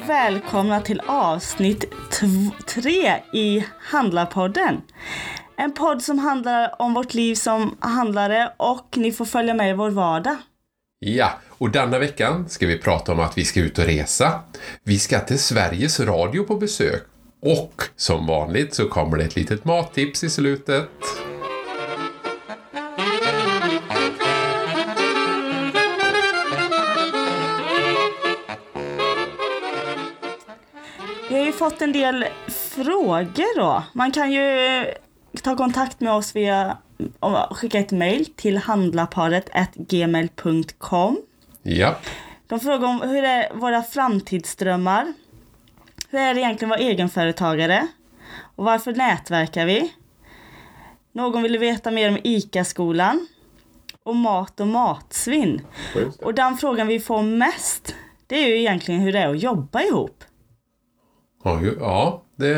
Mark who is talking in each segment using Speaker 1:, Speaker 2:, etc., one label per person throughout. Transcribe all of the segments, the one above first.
Speaker 1: välkomna till avsnitt tv- tre i Handlarpodden. En podd som handlar om vårt liv som handlare och ni får följa med i vår vardag.
Speaker 2: Ja, och denna veckan ska vi prata om att vi ska ut och resa. Vi ska till Sveriges Radio på besök. Och som vanligt så kommer det ett litet mattips i slutet.
Speaker 1: Vi har ju fått en del frågor då. Man kan ju eh, ta kontakt med oss via och skicka ett mejl till handlarparet gmail.com.
Speaker 2: Ja,
Speaker 1: De frågar om hur är våra framtidsdrömmar? Hur är det egentligen att vara egenföretagare? Och varför nätverkar vi? Någon ville veta mer om ICA-skolan och mat och matsvinn. Och den frågan vi får mest, det är ju egentligen hur det är att jobba ihop.
Speaker 2: ja, ju- ja det,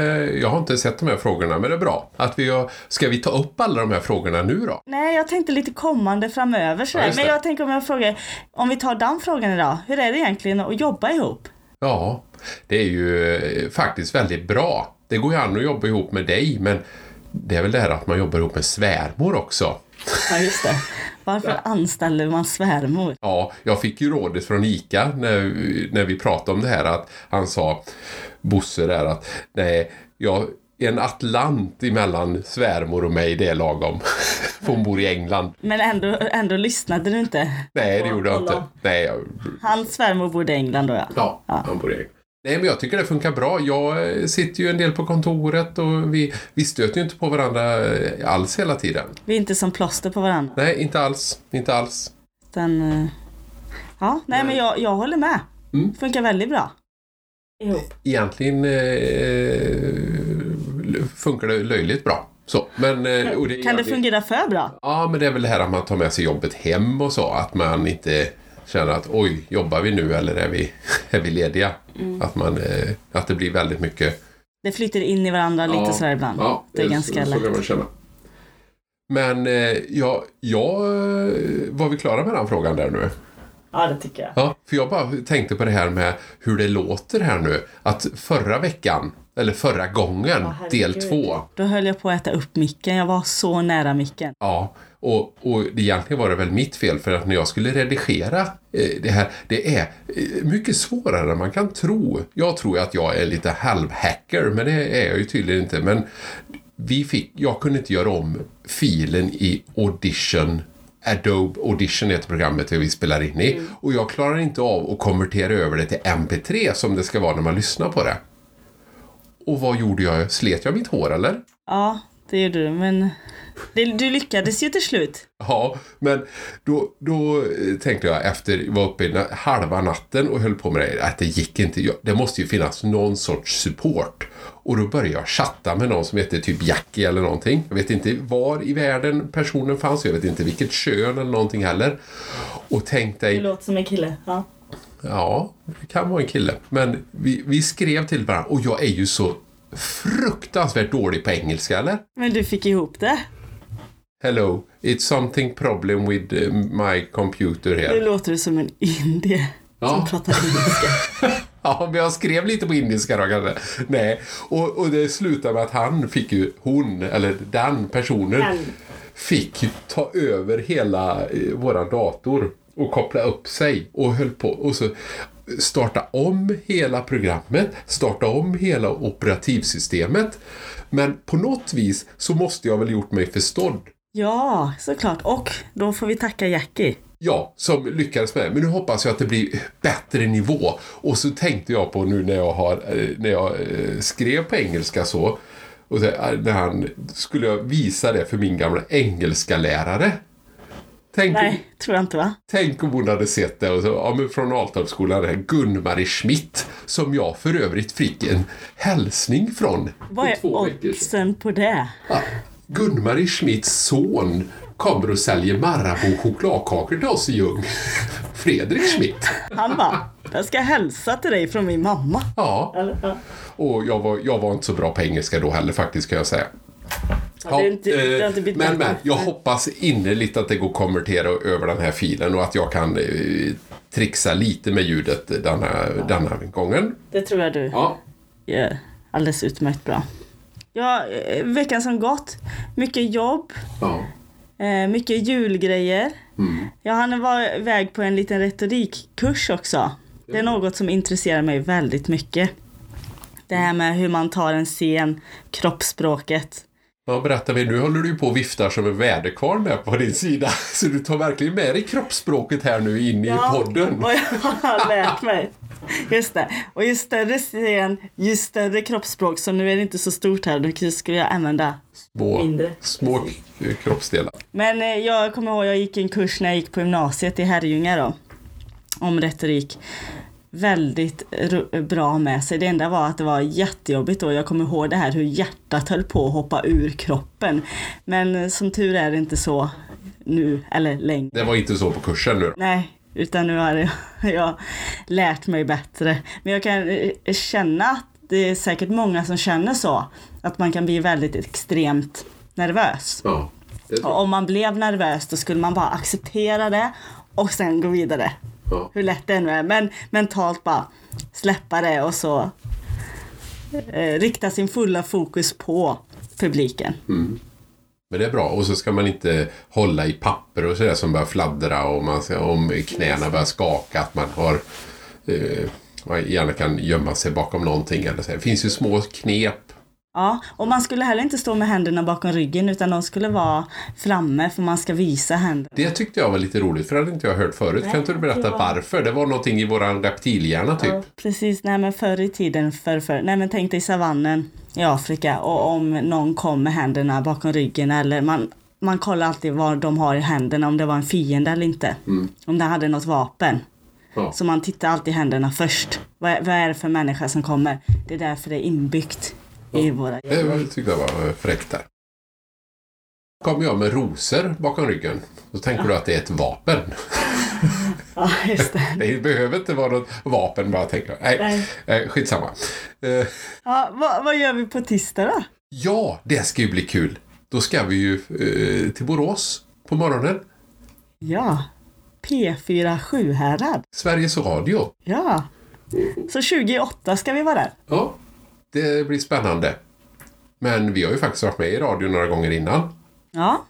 Speaker 2: jag har inte sett de här frågorna men det är bra. Att vi, har- ska vi ta upp alla de här frågorna nu då?
Speaker 1: Nej, jag tänkte lite kommande framöver sådär.
Speaker 2: Ja, just
Speaker 1: Men
Speaker 2: det.
Speaker 1: jag tänker om jag frågar, om vi tar den frågan idag. Hur är det egentligen att jobba ihop?
Speaker 2: Ja, det är ju eh, faktiskt väldigt bra. Det går ju an att jobba ihop med dig men det är väl det här att man jobbar ihop med svärmor också.
Speaker 1: Ja, just det. Varför anställer man svärmor?
Speaker 2: Ja, jag fick ju rådet från ICA när, när vi pratade om det här att han sa, Bosse där att nej, jag, en atlant emellan svärmor och mig det är lagom. För hon bor i England.
Speaker 1: Men ändå, ändå lyssnade du inte.
Speaker 2: Nej, det gjorde jag
Speaker 1: Kolla.
Speaker 2: inte. Nej, jag,
Speaker 1: Hans svärmor bodde i England då ja.
Speaker 2: ja, han bor i England. Nej, men jag tycker det funkar bra. Jag eh, sitter ju en del på kontoret och vi, vi stöter ju inte på varandra eh, alls hela tiden.
Speaker 1: Vi är inte som plåster på varandra.
Speaker 2: Nej, inte alls. Inte alls.
Speaker 1: Utan, eh, ja, nej men jag, jag håller med.
Speaker 2: Mm.
Speaker 1: Funkar väldigt bra. Ihop.
Speaker 2: egentligen eh, funkar det löjligt bra. Så, men, eh, och det,
Speaker 1: Kan det fungera för bra?
Speaker 2: Ja, men det är väl det här att man tar med sig jobbet hem och så. Att man inte känner att oj, jobbar vi nu eller är vi, är vi lediga?
Speaker 1: Mm.
Speaker 2: Att, man, eh, att det blir väldigt mycket.
Speaker 1: Det flyter in i varandra lite sådär ibland. det är ganska lätt.
Speaker 2: man känna. Men eh, ja, jag eh, var vi klara med den frågan där nu?
Speaker 1: Ja det tycker jag.
Speaker 2: Ja, för jag bara tänkte på det här med hur det låter här nu. Att förra veckan, eller förra gången, del två.
Speaker 1: Då höll jag på att äta upp micken. Jag var så nära micken.
Speaker 2: Ja, och, och det egentligen var det väl mitt fel för att när jag skulle redigera eh, det här, det är eh, mycket svårare än man kan tro. Jag tror ju att jag är lite halvhacker, men det är jag ju tydligen inte. Men vi fick, jag kunde inte göra om filen i Audition Adobe Audition heter programmet vi spelar in i. Och jag klarar inte av att konvertera över det till MP3 som det ska vara när man lyssnar på det. Och vad gjorde jag? Slet jag mitt hår eller?
Speaker 1: Ja, det gjorde du. Men det, du lyckades ju till slut.
Speaker 2: Ja, men då, då eh, tänkte jag efter, var uppe i na- halva natten och höll på med det, att det gick inte. Jag- Det måste ju finnas någon sorts support. Och då började jag chatta med någon som heter typ Jackie eller någonting. Jag vet inte var i världen personen fanns, jag vet inte vilket kön eller någonting heller. Och tänk dig,
Speaker 1: låter som en kille. Ja.
Speaker 2: Ja, det kan vara en kille. Men vi, vi skrev till varandra och jag är ju så fruktansvärt dålig på engelska, eller?
Speaker 1: Men du fick ihop det.
Speaker 2: Hello, it's something problem with eh, my computer here.
Speaker 1: Nu låter du som en indie som
Speaker 2: Ja.
Speaker 1: pratar indiska.
Speaker 2: Ja, men jag skrev lite på indiska då kanske. Nej, och, och det slutade med att han fick ju, hon, eller den personen, fick ju ta över hela eh, våran dator och koppla upp sig och höll på och så starta om hela programmet, starta om hela operativsystemet. Men på något vis så måste jag väl gjort mig förstådd.
Speaker 1: Ja, såklart. Och då får vi tacka Jackie.
Speaker 2: Ja, som lyckades med det. Men nu hoppas jag att det blir bättre nivå. Och så tänkte jag på nu när jag, har, eh, när jag eh, skrev på engelska så. Och så, eh, när han, skulle jag visa det för min gamla engelska lärare. Tänk,
Speaker 1: Nej, tror jag inte va?
Speaker 2: tänk om hon hade sett det. Och så, ja, men från Altorpsskolan, där, Gun-Marie Schmidt. Som jag för övrigt fick en hälsning från.
Speaker 1: Vad
Speaker 2: för
Speaker 1: är
Speaker 2: två veckor sedan.
Speaker 1: oddsen på det?
Speaker 2: Ja, Gun-Marie Schmidts son kommer och säljer Marabou chokladkakor till oss i Ljung. Fredrik Schmidt.
Speaker 1: Han bara, jag ska hälsa till dig från min mamma.
Speaker 2: Ja,
Speaker 1: Eller, ja.
Speaker 2: och jag var, jag var inte så bra på engelska då heller faktiskt kan jag säga.
Speaker 1: Ja, det är inte, det har
Speaker 2: eh,
Speaker 1: inte blivit
Speaker 2: men,
Speaker 1: bättre.
Speaker 2: men jag hoppas innerligt att det går att konvertera över den här filen och att jag kan eh, trixa lite med ljudet denna, denna gången.
Speaker 1: Det tror jag du
Speaker 2: Ja.
Speaker 1: gör alldeles utmärkt bra. Ja, eh, veckan som gått. Mycket jobb,
Speaker 2: ja.
Speaker 1: eh, mycket julgrejer.
Speaker 2: Mm.
Speaker 1: Jag hann vara iväg på en liten retorikkurs också. Det är något som intresserar mig väldigt mycket. Det här med hur man tar en scen, kroppsspråket.
Speaker 2: Ja, berätta vi, nu håller du ju på och viftar som en väderkvarn med på din sida. Så du tar verkligen med dig kroppsspråket här nu in i podden.
Speaker 1: Vad jag har lärt mig. Just det. Och ju större scen, ju större kroppsspråk. Så nu är det inte så stort här. Då skulle jag använda
Speaker 2: Små,
Speaker 1: mindre.
Speaker 2: små k- kroppsdelar.
Speaker 1: Men eh, jag kommer ihåg jag gick en kurs när jag gick på gymnasiet i Herrljunga då. Om retorik. Väldigt ro- bra med sig. Det enda var att det var jättejobbigt då. Jag kommer ihåg det här hur hjärtat höll på att hoppa ur kroppen. Men eh, som tur är det inte så nu eller längre.
Speaker 2: Det var inte så på kursen nu. då.
Speaker 1: Nej, utan nu har jag, jag lärt mig bättre. Men jag kan eh, känna att det är säkert många som känner så. Att man kan bli väldigt extremt nervös.
Speaker 2: Ja. Det tror
Speaker 1: Och om man blev nervös då skulle man bara acceptera det och sen gå vidare.
Speaker 2: jag.
Speaker 1: Hur lätt det än är. Men mentalt bara släppa det och så eh, rikta sin fulla fokus på publiken.
Speaker 2: Men det är bra. Och så ska man inte hålla i papper och sådär som börjar fladdra och man ska, om knäna börjar skaka. Att man har eh, man gärna kan gömma sig bakom någonting. Eller så. här. Det finns ju små knep.
Speaker 1: Ja, och man skulle heller inte stå med händerna bakom ryggen utan de skulle vara framme för man ska visa händerna.
Speaker 2: Det tyckte jag var lite roligt för det hade inte jag hört förut. kan inte du berätta
Speaker 1: det var-
Speaker 2: varför? Det var någonting i våran reptilhjärna typ.
Speaker 1: Precis, nej men förr i tiden, förr, förr, nej men tänk dig savannen i Afrika och om någon kom med händerna bakom ryggen eller man, man kollar alltid vad de har i händerna, om det var en fiende eller inte. Om den hade något vapen.
Speaker 2: Ja.
Speaker 1: Så man tittar alltid i händerna först. Vad, är- vad är det för människa som kommer? Det är därför det är inbyggt i våra...
Speaker 2: Det var- tyckte jag var eh, fräckt där. Kom jag med rosor bakom ryggen. Då tänker du att det är ett vapen.
Speaker 1: Ja, just det.
Speaker 2: Det behöver inte vara något vapen bara tänker jag. Nej, eh, skitsamma. Eh,
Speaker 1: Ja, vad, vad gör vi på tisdag då?
Speaker 2: Ja, det ska ju bli kul. Då ska vi ju eh, till Borås på morgonen.
Speaker 1: Ja, P4 Sjuhärad.
Speaker 2: Sveriges Radio.
Speaker 1: Ja. Så 28 ska vi vara där.
Speaker 2: Ja, det blir spännande. Men vi har ju faktiskt varit med i radio några gånger innan.
Speaker 1: Ja.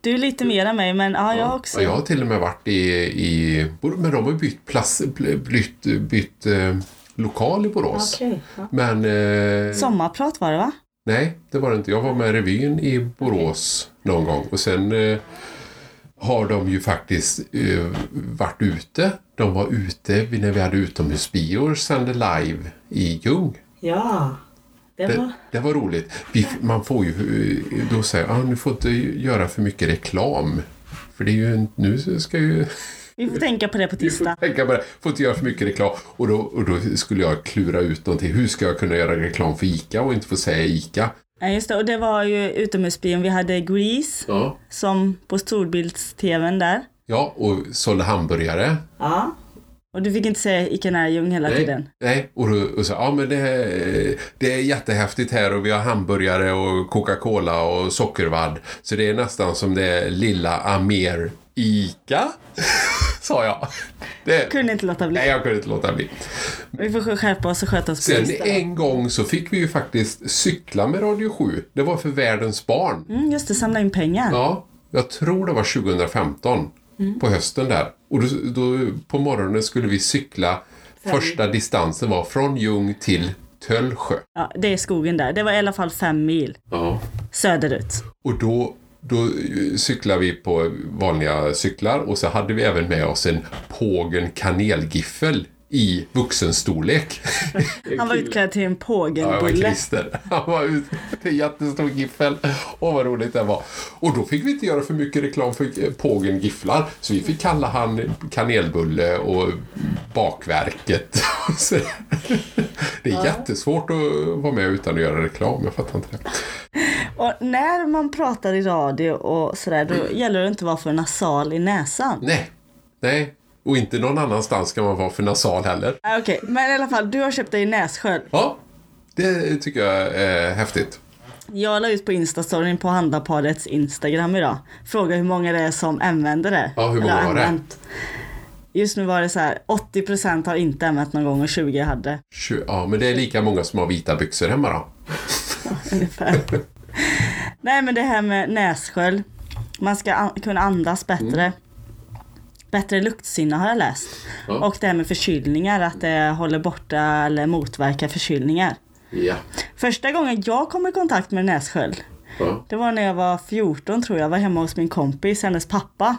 Speaker 1: Du är lite mer än mig, men ja, jag också.
Speaker 2: Ja, jag har till och med varit i... i men de har ju bytt, plats, bytt, bytt eh, lokal i Borås. Men... Eh,
Speaker 1: Sommarprat var det va?
Speaker 2: Nej, det var det inte. Jag var med i revyn i Borås någon gång och sen eh, har de ju faktiskt eh, varit ute. De var ute vid- när vi hade utomhusbior sände live i Ljung.
Speaker 1: Ja.
Speaker 2: Det, det var roligt. Vi, man får ju eh, då säga ah, nu får inte göra för mycket reklam. För det är ju en, nu ska ju
Speaker 1: Vi får tänka på det på
Speaker 2: vi får
Speaker 1: tisdag.
Speaker 2: tänka på det. Får inte göra för mycket reklam. Och då, och då skulle jag klura ut någonting. Hur ska jag kunna göra reklam för ICA och inte få säga ICA?
Speaker 1: Ja, just det. Och det var ju utomhusbion. Vi hade Grease
Speaker 2: Ja.
Speaker 1: som på storbilds-tvn där.
Speaker 2: Ja, och sålde hamburgare.
Speaker 1: Ja. Och du fick inte säga Ica nära Ljung hela tiden.
Speaker 2: Nej, och, då- och så, ja men det, är- det är jättehäftigt här och vi har hamburgare och Coca-Cola och sockervadd. Så det är nästan som det är lilla Amer Ica, sa jag. Det,
Speaker 1: Kunde inte låta bli.
Speaker 2: nej, jag kunde inte låta bli.
Speaker 1: Vi får skärpa oss och sköta oss på
Speaker 2: Sen
Speaker 1: tisdag.
Speaker 2: en gång så fick vi ju faktiskt cykla med Radio 7. Det var för världens barn.
Speaker 1: Mm, just det, samla in pengar.
Speaker 2: Ja, jag tror det var 2015 på hösten där. Och då, då, på morgonen skulle vi cykla. Första distansen var från Ljung till Töllsjö.
Speaker 1: Ja, det är skogen där. Det var i alla fall fem mil
Speaker 2: Ja.
Speaker 1: söderut.
Speaker 2: Och då, då eh, cyklade vi på vanliga cyklar och så hade vi även med oss en pågen kanelgiffel i vuxenstorlek.
Speaker 1: Han var utklädd till en
Speaker 2: Ja, jag var
Speaker 1: pågenbulle.
Speaker 2: Christer. Han var ute till jättestor giffel. Åh, vad roligt det var. Och då fick vi inte göra för mycket reklam för eh, Pågen Gifflar. Så vi fick kalla han Kanelbulle och Bakverket. Och så- Det är jättesvårt att vara med utan att göra reklam. Jag fattar inte det.
Speaker 1: och när man pratar i radio och sådär, då gäller det inte att vara för nasal i näsan.
Speaker 2: Mm. Nej, nej. Och inte någon annanstans ska man vara för nasal heller.
Speaker 1: Ah, Okej, men i alla fall, du har köpt dig nässköld.
Speaker 2: Ja, det tycker jag är häftigt.
Speaker 1: Jag la ut på instastoryn på Handaparets Instagram idag. Fråga hur många det är som använder det.
Speaker 2: Ja, hur många
Speaker 1: Eller
Speaker 2: var det?
Speaker 1: använt. Just nu var det så här, 80% har inte använt någon gång och 20 hade.
Speaker 2: Tju- Ja, men det är lika många som har vita byxor hemma då.
Speaker 1: Ungefär. Nej men det här med nässkölj. Man ska an- kunna andas bättre.
Speaker 2: Mm.
Speaker 1: Bättre luktsinne har jag läst.
Speaker 2: Ja.
Speaker 1: Och det här med förkylningar, att det håller borta eller motverkar förkylningar.
Speaker 2: Ja.
Speaker 1: Första gången jag kom i kontakt med nässkölj,
Speaker 2: ja.
Speaker 1: det var när jag var 14 tror jag. Jag var hemma hos min kompis, hennes pappa.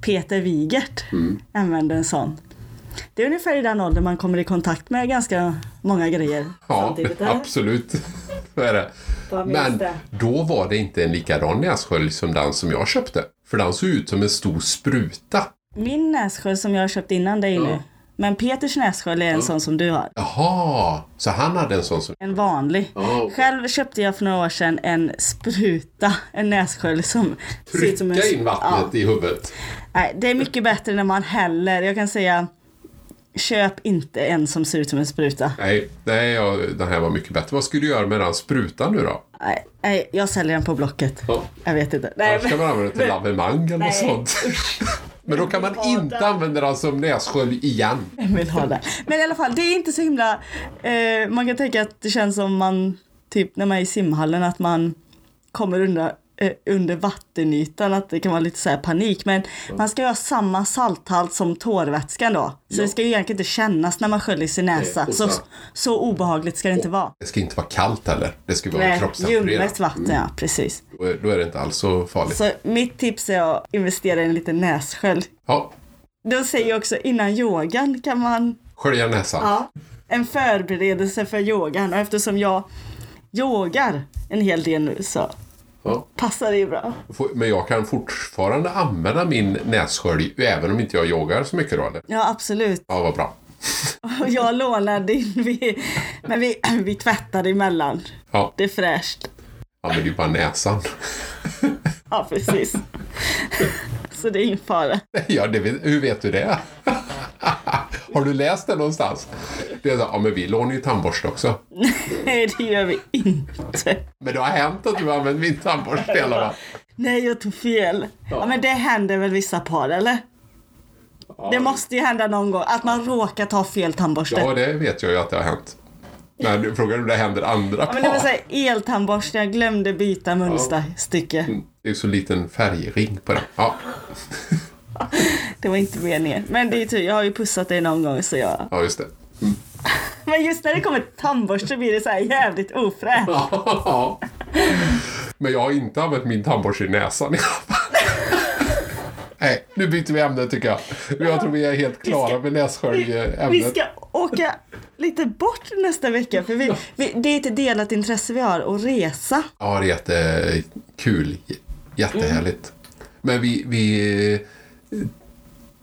Speaker 1: Peter Wigert
Speaker 2: Mm.
Speaker 1: använde en sån. Det är ungefär i den åldern man kommer i kontakt med ganska många grejer
Speaker 2: Ja,
Speaker 1: samtidigt. eller?
Speaker 2: absolut. Så är det.
Speaker 1: Vad minns
Speaker 2: Men
Speaker 1: det?
Speaker 2: då var det inte en likadan nässkölj som den som jag köpte. För den såg ut som en stor spruta.
Speaker 1: Min nässkölj som jag har köpt innan dig nu. Men Peters nässkölj är en sån som du har.
Speaker 2: Jaha, så han hade en sån som...
Speaker 1: En vanlig.
Speaker 2: Ja.
Speaker 1: Själv köpte jag för några år sedan en spruta, en nässkölj som ser ut som en...
Speaker 2: Trycka in vattnet i huvudet.
Speaker 1: Nej, det är mycket bättre när man häller. Jag kan säga, köp inte en som ser ut som en spruta.
Speaker 2: Nej, nej ja, den här var mycket bättre. Vad skulle du göra med den sprutan nu då?
Speaker 1: Nej, nej jag säljer den på Blocket.
Speaker 2: Ja.
Speaker 1: Jag vet inte.
Speaker 2: Den
Speaker 1: Nej,
Speaker 2: ska man använda till lavemang eller något sånt. Men då kan man inte använda den som nässkölj igen.
Speaker 1: vem vill ha det? Men i alla fall, det är inte så himla... Eh, man kan tänka att det känns som man, typ när man är i simhallen, att man kommer under, eh, under vattenytan, att det kan vara lite så här panik. Men man ska ju ha samma salthalt som tårvätskan då. Så
Speaker 2: Ja.
Speaker 1: det ska ju egentligen inte kännas när man sköljer sin näsa.
Speaker 2: och
Speaker 1: Så,
Speaker 2: så-
Speaker 1: så obehagligt ska det inte vara.
Speaker 2: Det ska inte vara kallt heller. Det ska vara
Speaker 1: Nej,
Speaker 2: kroppstempererat.
Speaker 1: ljummet vatten, ja precis.
Speaker 2: Då är- Då är det inte alls så farligt.
Speaker 1: Så mitt tips är att investera i en liten nässkölj.
Speaker 2: Ja,
Speaker 1: De säger ju också innan yogan kan man
Speaker 2: skölja näsan.
Speaker 1: Ja. En förberedelse för yogan och eftersom jag yogar en hel del nu så
Speaker 2: Ja.
Speaker 1: passar det ju bra.
Speaker 2: Får- Men jag kan fortfarande använda min nässkölj även om inte jag yogar så mycket då eller?
Speaker 1: Ja absolut.
Speaker 2: Ja, vad bra.
Speaker 1: Och jag lånar din, vi, men vi, vi tvättar emellan.
Speaker 2: Ja,
Speaker 1: Det är fräscht.
Speaker 2: ja men det är ju bara näsan.
Speaker 1: Ja precis. Så det är ingen fara.
Speaker 2: Ja, det vet, hur vet du det? Har du läst det någonstans? Det är så, här, ja, men vi lånar ju tandborste också.
Speaker 1: Nej det gör vi inte.
Speaker 2: Men det har hänt att du har använt min tandborste i alla fall.
Speaker 1: Nej jag tog fel. Ja men det händer väl vissa par eller? Det måste ju hända någon gång att man råkar ta fel tandborste.
Speaker 2: Ja, det vet jag ju att det har hänt. Men du frågar om det händer andra
Speaker 1: Ja, men det var
Speaker 2: par.
Speaker 1: såhär eltandborste, jag glömde byta munstycke.
Speaker 2: Det är ju så liten färgring på den. Ja,
Speaker 1: Det var inte meningen. Men det är tur, jag har ju pussat dig någon gång så jag...
Speaker 2: ja just det.
Speaker 1: Men just när det kommer tandborste blir det så här jävligt ofräscht.
Speaker 2: Ja. Men jag har inte använt min tandborste i näsan i alla fall. Nej, nu byter vi ämne tycker jag. Jag tror vi är helt klara med
Speaker 1: Vi
Speaker 2: nässköljämnet.
Speaker 1: ska åka lite bort nästa vecka för vi, vi, det är ett delat intresse vi har, att resa.
Speaker 2: Ja, det är jättekul. Jättehärligt. Men vi... vi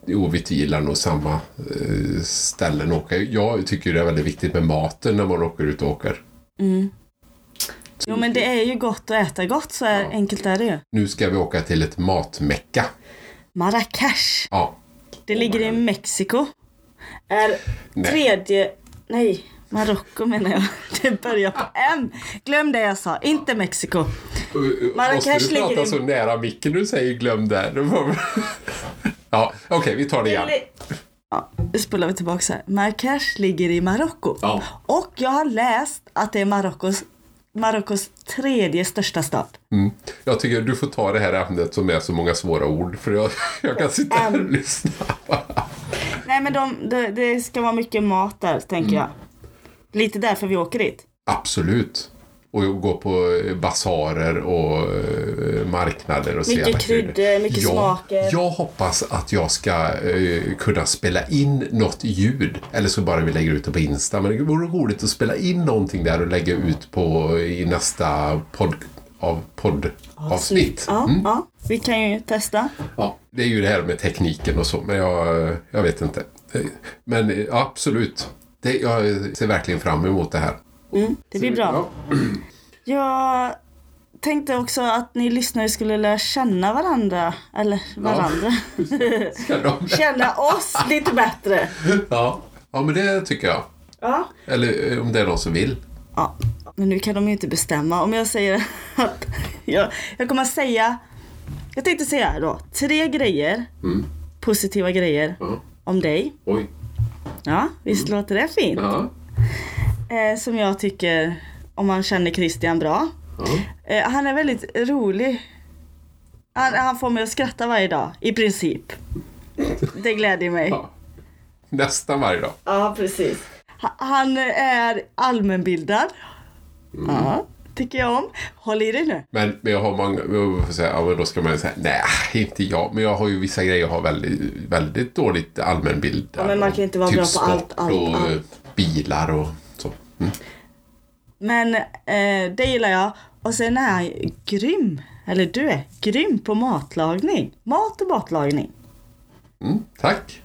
Speaker 2: Jo, vi gillar nog samma eh, ställen att åka. Jag tycker det är väldigt viktigt med maten när man åker ut och åker.
Speaker 1: Jo men det är ju gott att äta gott, så är, enkelt är det ju.
Speaker 2: Nu ska vi åka till ett matmecka.
Speaker 1: Marrakesh,
Speaker 2: Ja,
Speaker 1: det ligger i Mexiko. Är
Speaker 2: Nej.
Speaker 1: tredje... Nej, Marocko menar jag. Det börjar på M. Glöm det jag sa, inte Mexiko. Marrakesh
Speaker 2: Måste du prata
Speaker 1: ligger i-
Speaker 2: så nära micken du säger glöm där? Då får vi- ja, okej, vi tar det igen.
Speaker 1: Ja, nu spolar vi tillbaka här. Marrakesh ligger i Marocko.
Speaker 2: Ja.
Speaker 1: Och jag har läst att det är Marockos, Marockos tredje största stad.
Speaker 2: Mm. Jag tycker du får ta det här ämnet som är så många svåra ord, för jag, jag kan sitta här och lyssna.
Speaker 1: Nej men de, det- det ska vara mycket mat där
Speaker 2: Mm.
Speaker 1: tänker jag. Lite därför vi åker dit.
Speaker 2: Absolut. Och gå på eh, basarer och eh, marknader och se
Speaker 1: Mycket
Speaker 2: alla
Speaker 1: kryddor, mycket
Speaker 2: jag,
Speaker 1: smaker.
Speaker 2: Jag hoppas att jag ska eh, kunna spela in något ljud. Eller så bara vi lägger ut det på Insta. Men det vore roligt att spela in någonting där och lägga ut på eh, i nästa podd av poddavsnitt.
Speaker 1: Ja, ja. Vi kan ju testa.
Speaker 2: Ja, det är ju det här med tekniken och så, men jag, jag vet inte. Men eh, absolut, det, jag ser verkligen fram emot det här.
Speaker 1: Det blir bra. Jag tänkte också att ni lyssnare skulle lära känna varandra. Eller varandra.
Speaker 2: Ska de-
Speaker 1: känna oss lite bättre.
Speaker 2: Ja. ja, men det tycker jag.
Speaker 1: Ja.
Speaker 2: Eller eh, om det är någon som vill.
Speaker 1: Ja, men nu kan de ju inte bestämma. Om jag säger att jag, jag kommer att säga, jag tänkte säga då, tre grejer,
Speaker 2: Mm.
Speaker 1: positiva grejer
Speaker 2: Ja. Mm.
Speaker 1: om dig.
Speaker 2: Oj.
Speaker 1: Ja, visst låter det fint?
Speaker 2: Ja.
Speaker 1: Eh, som jag tycker, om man känner Christian bra.
Speaker 2: Ja.
Speaker 1: Eh, han är väldigt rolig. Han, han får mig att skratta varje dag, i princip. Det gläder mig.
Speaker 2: ja. Nästan varje dag.
Speaker 1: Ja, precis. Ha- Han är allmänbildad. Ja, tycker jag om. Håll i dig nu.
Speaker 2: Men, men jag har många, jag får säga, ja, men då ska man ju säga, nej, inte jag. Men jag har ju vissa grejer jag har väldigt, väldigt dåligt allmänbild.
Speaker 1: Ja, men man kan ju inte vara bra på
Speaker 2: sport
Speaker 1: allt, allt,
Speaker 2: Typ och eh,
Speaker 1: allt.
Speaker 2: bilar och så. Mm.
Speaker 1: Men eh, det gillar jag. Och sen är han grym. Eller du är grym på matlagning. Mat och matlagning.
Speaker 2: Mm, tack,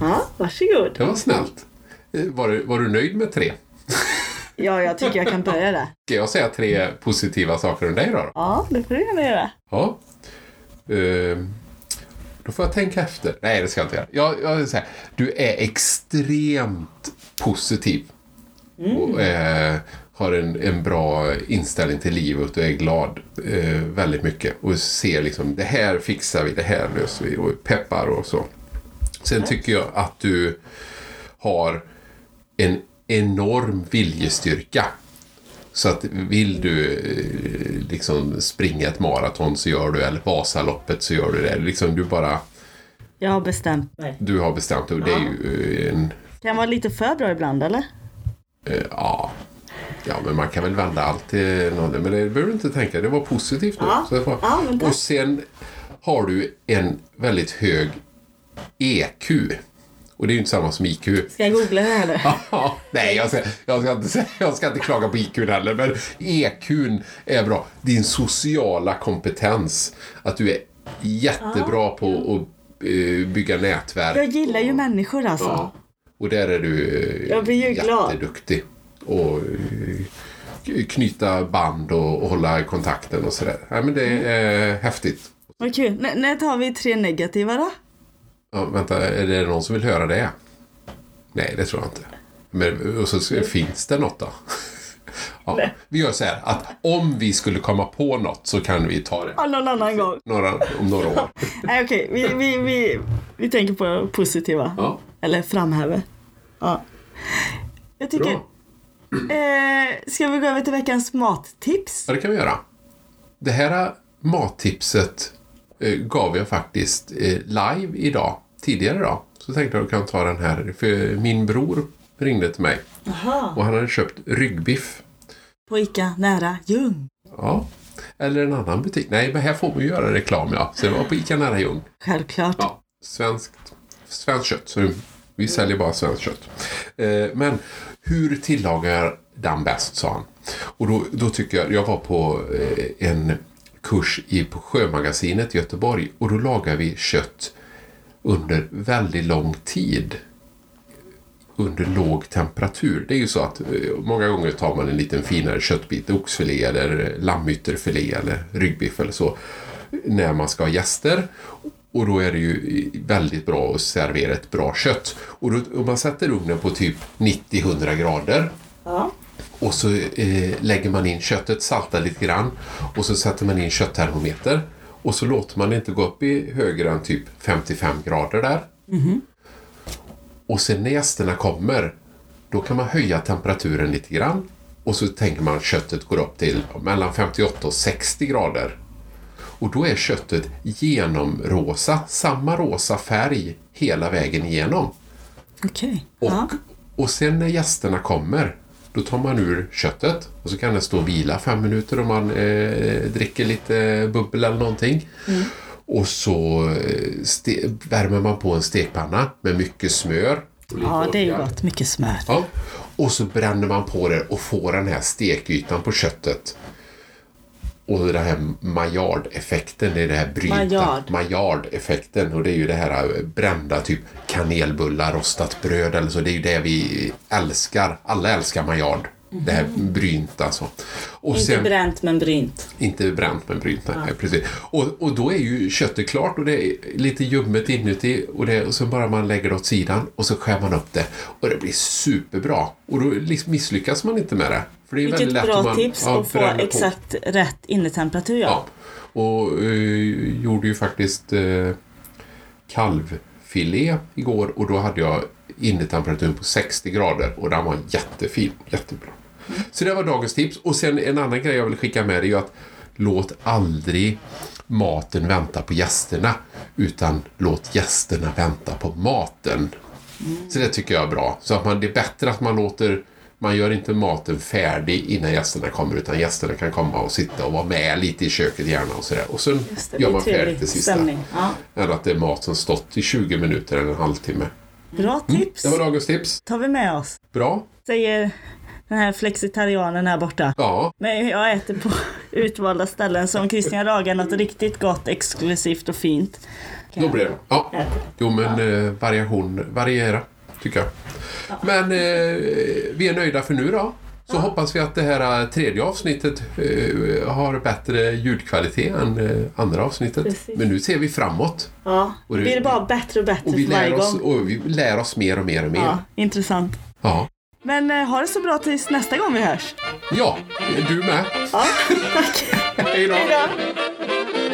Speaker 1: Ja, varsågod.
Speaker 2: det var snällt. Eh, Var, du- var du nöjd med tre?
Speaker 1: Ja, jag tycker jag kan börja där.
Speaker 2: Ska jag säga tre positiva saker om dig då?
Speaker 1: Ja, det får du gärna göra.
Speaker 2: Ja. Ehm, då får jag tänka efter. Nej, det ska jag inte göra. Jag, jag vill säga, du är extremt positiv. Och eh, har en, en bra inställning till livet och är glad eh, väldigt mycket. Och ser liksom, det här fixar vi, det här löser vi och peppar och så. Sen tycker jag att du har en enorm viljestyrka. Så att vill du eh, liksom springa ett maraton så gör du eller Vasaloppet så gör du det. Liksom du bara,
Speaker 1: Jag har bestämt mig.
Speaker 2: du har bestämt dig och det är ju eh, en,
Speaker 1: Kan vara lite för bra ibland, eller?
Speaker 2: eh, ja. Ja, men man kan väl vända allt till något. Men det behöver du inte tänka. Det var positivt nu.
Speaker 1: Ja.
Speaker 2: Så det var-
Speaker 1: Ja, men tack.
Speaker 2: och sen har du en väldigt hög EQ. Och det är ju inte samma som IQ.
Speaker 1: Ska jag googla det här nu?
Speaker 2: Ja, nej, jag ska, jag, ska inte, säga- jag ska inte klaga på IQn heller, men EQn är bra. Din sociala kompetens. Att du är jättebra på att eh, bygga nätverk.
Speaker 1: Ah, Jag gillar ju människor alltså.
Speaker 2: Ja. Och där är du eh,
Speaker 1: Jag blir ju glad.
Speaker 2: jätteduktig. Och eh, k- knyta band och, och hålla kontakten och sådär. Nej, men det
Speaker 1: Mm.
Speaker 2: är eh, häftigt.
Speaker 1: Vad kul. N- när tar vi tre negativa då?
Speaker 2: Ja, vänta, är det någon som vill höra det? Nej, det tror jag inte. Men och så, ska- finns det något då? Ja, vi gör så här att om vi skulle komma på något så kan vi ta det
Speaker 1: Ja, någon annan gång.
Speaker 2: några, om några år.
Speaker 1: Nej, okej. Vi, vi, vi, vi tänker på positiva.
Speaker 2: Ja,
Speaker 1: Eller framhäver. Ja. Jag tycker...
Speaker 2: bra.
Speaker 1: Eh, ska vi gå över till veckans mattips?
Speaker 2: Ja, det kan vi göra. Det här eh, mattipset eh, gav jag faktiskt eh, live idag, tidigare idag. Så tänkte jag att jag kan ta den här. För min bror ringde till mig och han hade köpt ryggbiff
Speaker 1: På Ica nära Ljung.
Speaker 2: Ja. Eller en annan butik. Nej, men här får man ju göra reklam, ja. Så det var på ICA nära Ljung.
Speaker 1: Självklart.
Speaker 2: Ja. Svenskt, svenskt kött. Så vi säljer bara svenskt kött. Eh, men hur tillagar jag den bäst, sa han. Och då, då tycker jag, jag var på eh, en kurs i, på Sjömagasinet i Göteborg och då lagar vi kött under väldigt lång tid under låg temperatur. Det är ju så att eh, många gånger tar man en liten finare köttbit, oxfilé eller lammytterfilé eller ryggbiff eller så, när man ska ha gäster. Och då är det ju eh, väldigt bra att servera ett bra kött. Och då, om man sätter ugnen på typ 90-100 grader
Speaker 1: Ja.
Speaker 2: och så eh, lägger man in köttet, saltar lite grann och så sätter man in kötttermometer och så låter man det inte gå upp i högre än typ 55 grader där. Och sen när gästerna kommer då kan man höja temperaturen lite grann och så tänker man att köttet går upp till mellan 58 och 60 grader. Och då är köttet genomrosa, samma rosa färg hela vägen igenom.
Speaker 1: Okej.
Speaker 2: Och,
Speaker 1: Ja.
Speaker 2: och sen när gästerna kommer, då tar man ur köttet och så kan det stå och vila fem minuter om man eh, dricker lite bubbel eller någonting.
Speaker 1: Mm.
Speaker 2: Och så eh, ste- värmer man på en stekpanna med mycket smör. och lite
Speaker 1: ja, det är ju
Speaker 2: olja.
Speaker 1: gott. Mycket smör.
Speaker 2: Ja. Och så bränner man på det och får den här stekytan på köttet. Och den här maillard-effekten, det är det här bryta.
Speaker 1: Maillard.
Speaker 2: Maillard-effekten och det är ju det här brända typ kanelbullar, rostat bröd eller så. Det är ju det vi älskar. Alla älskar maillard. Det här brynt alltså. Och
Speaker 1: Inte bränt men brynt.
Speaker 2: inte bränt men brynt. nej, Precis. Och, och då är ju köttet klart och det är lite ljummet inuti och, det, och så bara man lägger det åt sidan och så skär man upp det och det blir superbra. Och då liksom misslyckas man inte med det. För det är
Speaker 1: Vilket
Speaker 2: väldigt lätt
Speaker 1: bra
Speaker 2: om man,
Speaker 1: tips
Speaker 2: ja,
Speaker 1: att få
Speaker 2: bränner på.
Speaker 1: exakt rätt innetemperatur. Ja.
Speaker 2: Ja. Och eh, gjorde ju faktiskt eh, kalvfilé igår och då hade jag innetemperaturen på 60 grader och den var jättefin. Jättebra. Så det var dagens tips. Och sen en annan grej jag vill skicka med är ju att låt aldrig maten vänta på gästerna utan låt gästerna vänta på maten. Så det tycker jag är bra. Så att man, det är bättre att man låter man gör inte maten färdig innan gästerna kommer utan gästerna kan komma och sitta och vara med lite i köket gärna och sådär. Och sen
Speaker 1: Just det,
Speaker 2: gör
Speaker 1: det är
Speaker 2: man färdigt det
Speaker 1: trevlig
Speaker 2: sista.
Speaker 1: stämning. Ja.
Speaker 2: Än att det är mat som stått i 20 minuter eller en halvtimme.
Speaker 1: Bra tips.
Speaker 2: Det var dagens tips.
Speaker 1: tar vi med oss.
Speaker 2: Bra.
Speaker 1: Säger den här flexitarianen här borta.
Speaker 2: Ja,
Speaker 1: Men jag äter på utvalda ställen som Christian lagar något riktigt gott, exklusivt och fint.
Speaker 2: då blir det. Ja. Jo, men eh, variation, variera tycker jag. Men eh, vi är nöjda för nu då. Så hoppas vi att det här eh, tredje avsnittet eh, har bättre ljudkvalitet än eh, andra avsnittet.
Speaker 1: Precis.
Speaker 2: Men nu ser vi framåt.
Speaker 1: Ja,
Speaker 2: Och
Speaker 1: det
Speaker 2: det-
Speaker 1: blir bara bättre och bättre
Speaker 2: Och vi,
Speaker 1: för varje
Speaker 2: lär
Speaker 1: gång.
Speaker 2: oss, och vi lär oss mer och mer och mer.
Speaker 1: Ja, intressant.
Speaker 2: Ja.
Speaker 1: Men eh, ha det så bra tills nästa gång vi hörs.
Speaker 2: ja, du med.
Speaker 1: Ja, tack.
Speaker 2: Hej då.
Speaker 1: Hej då.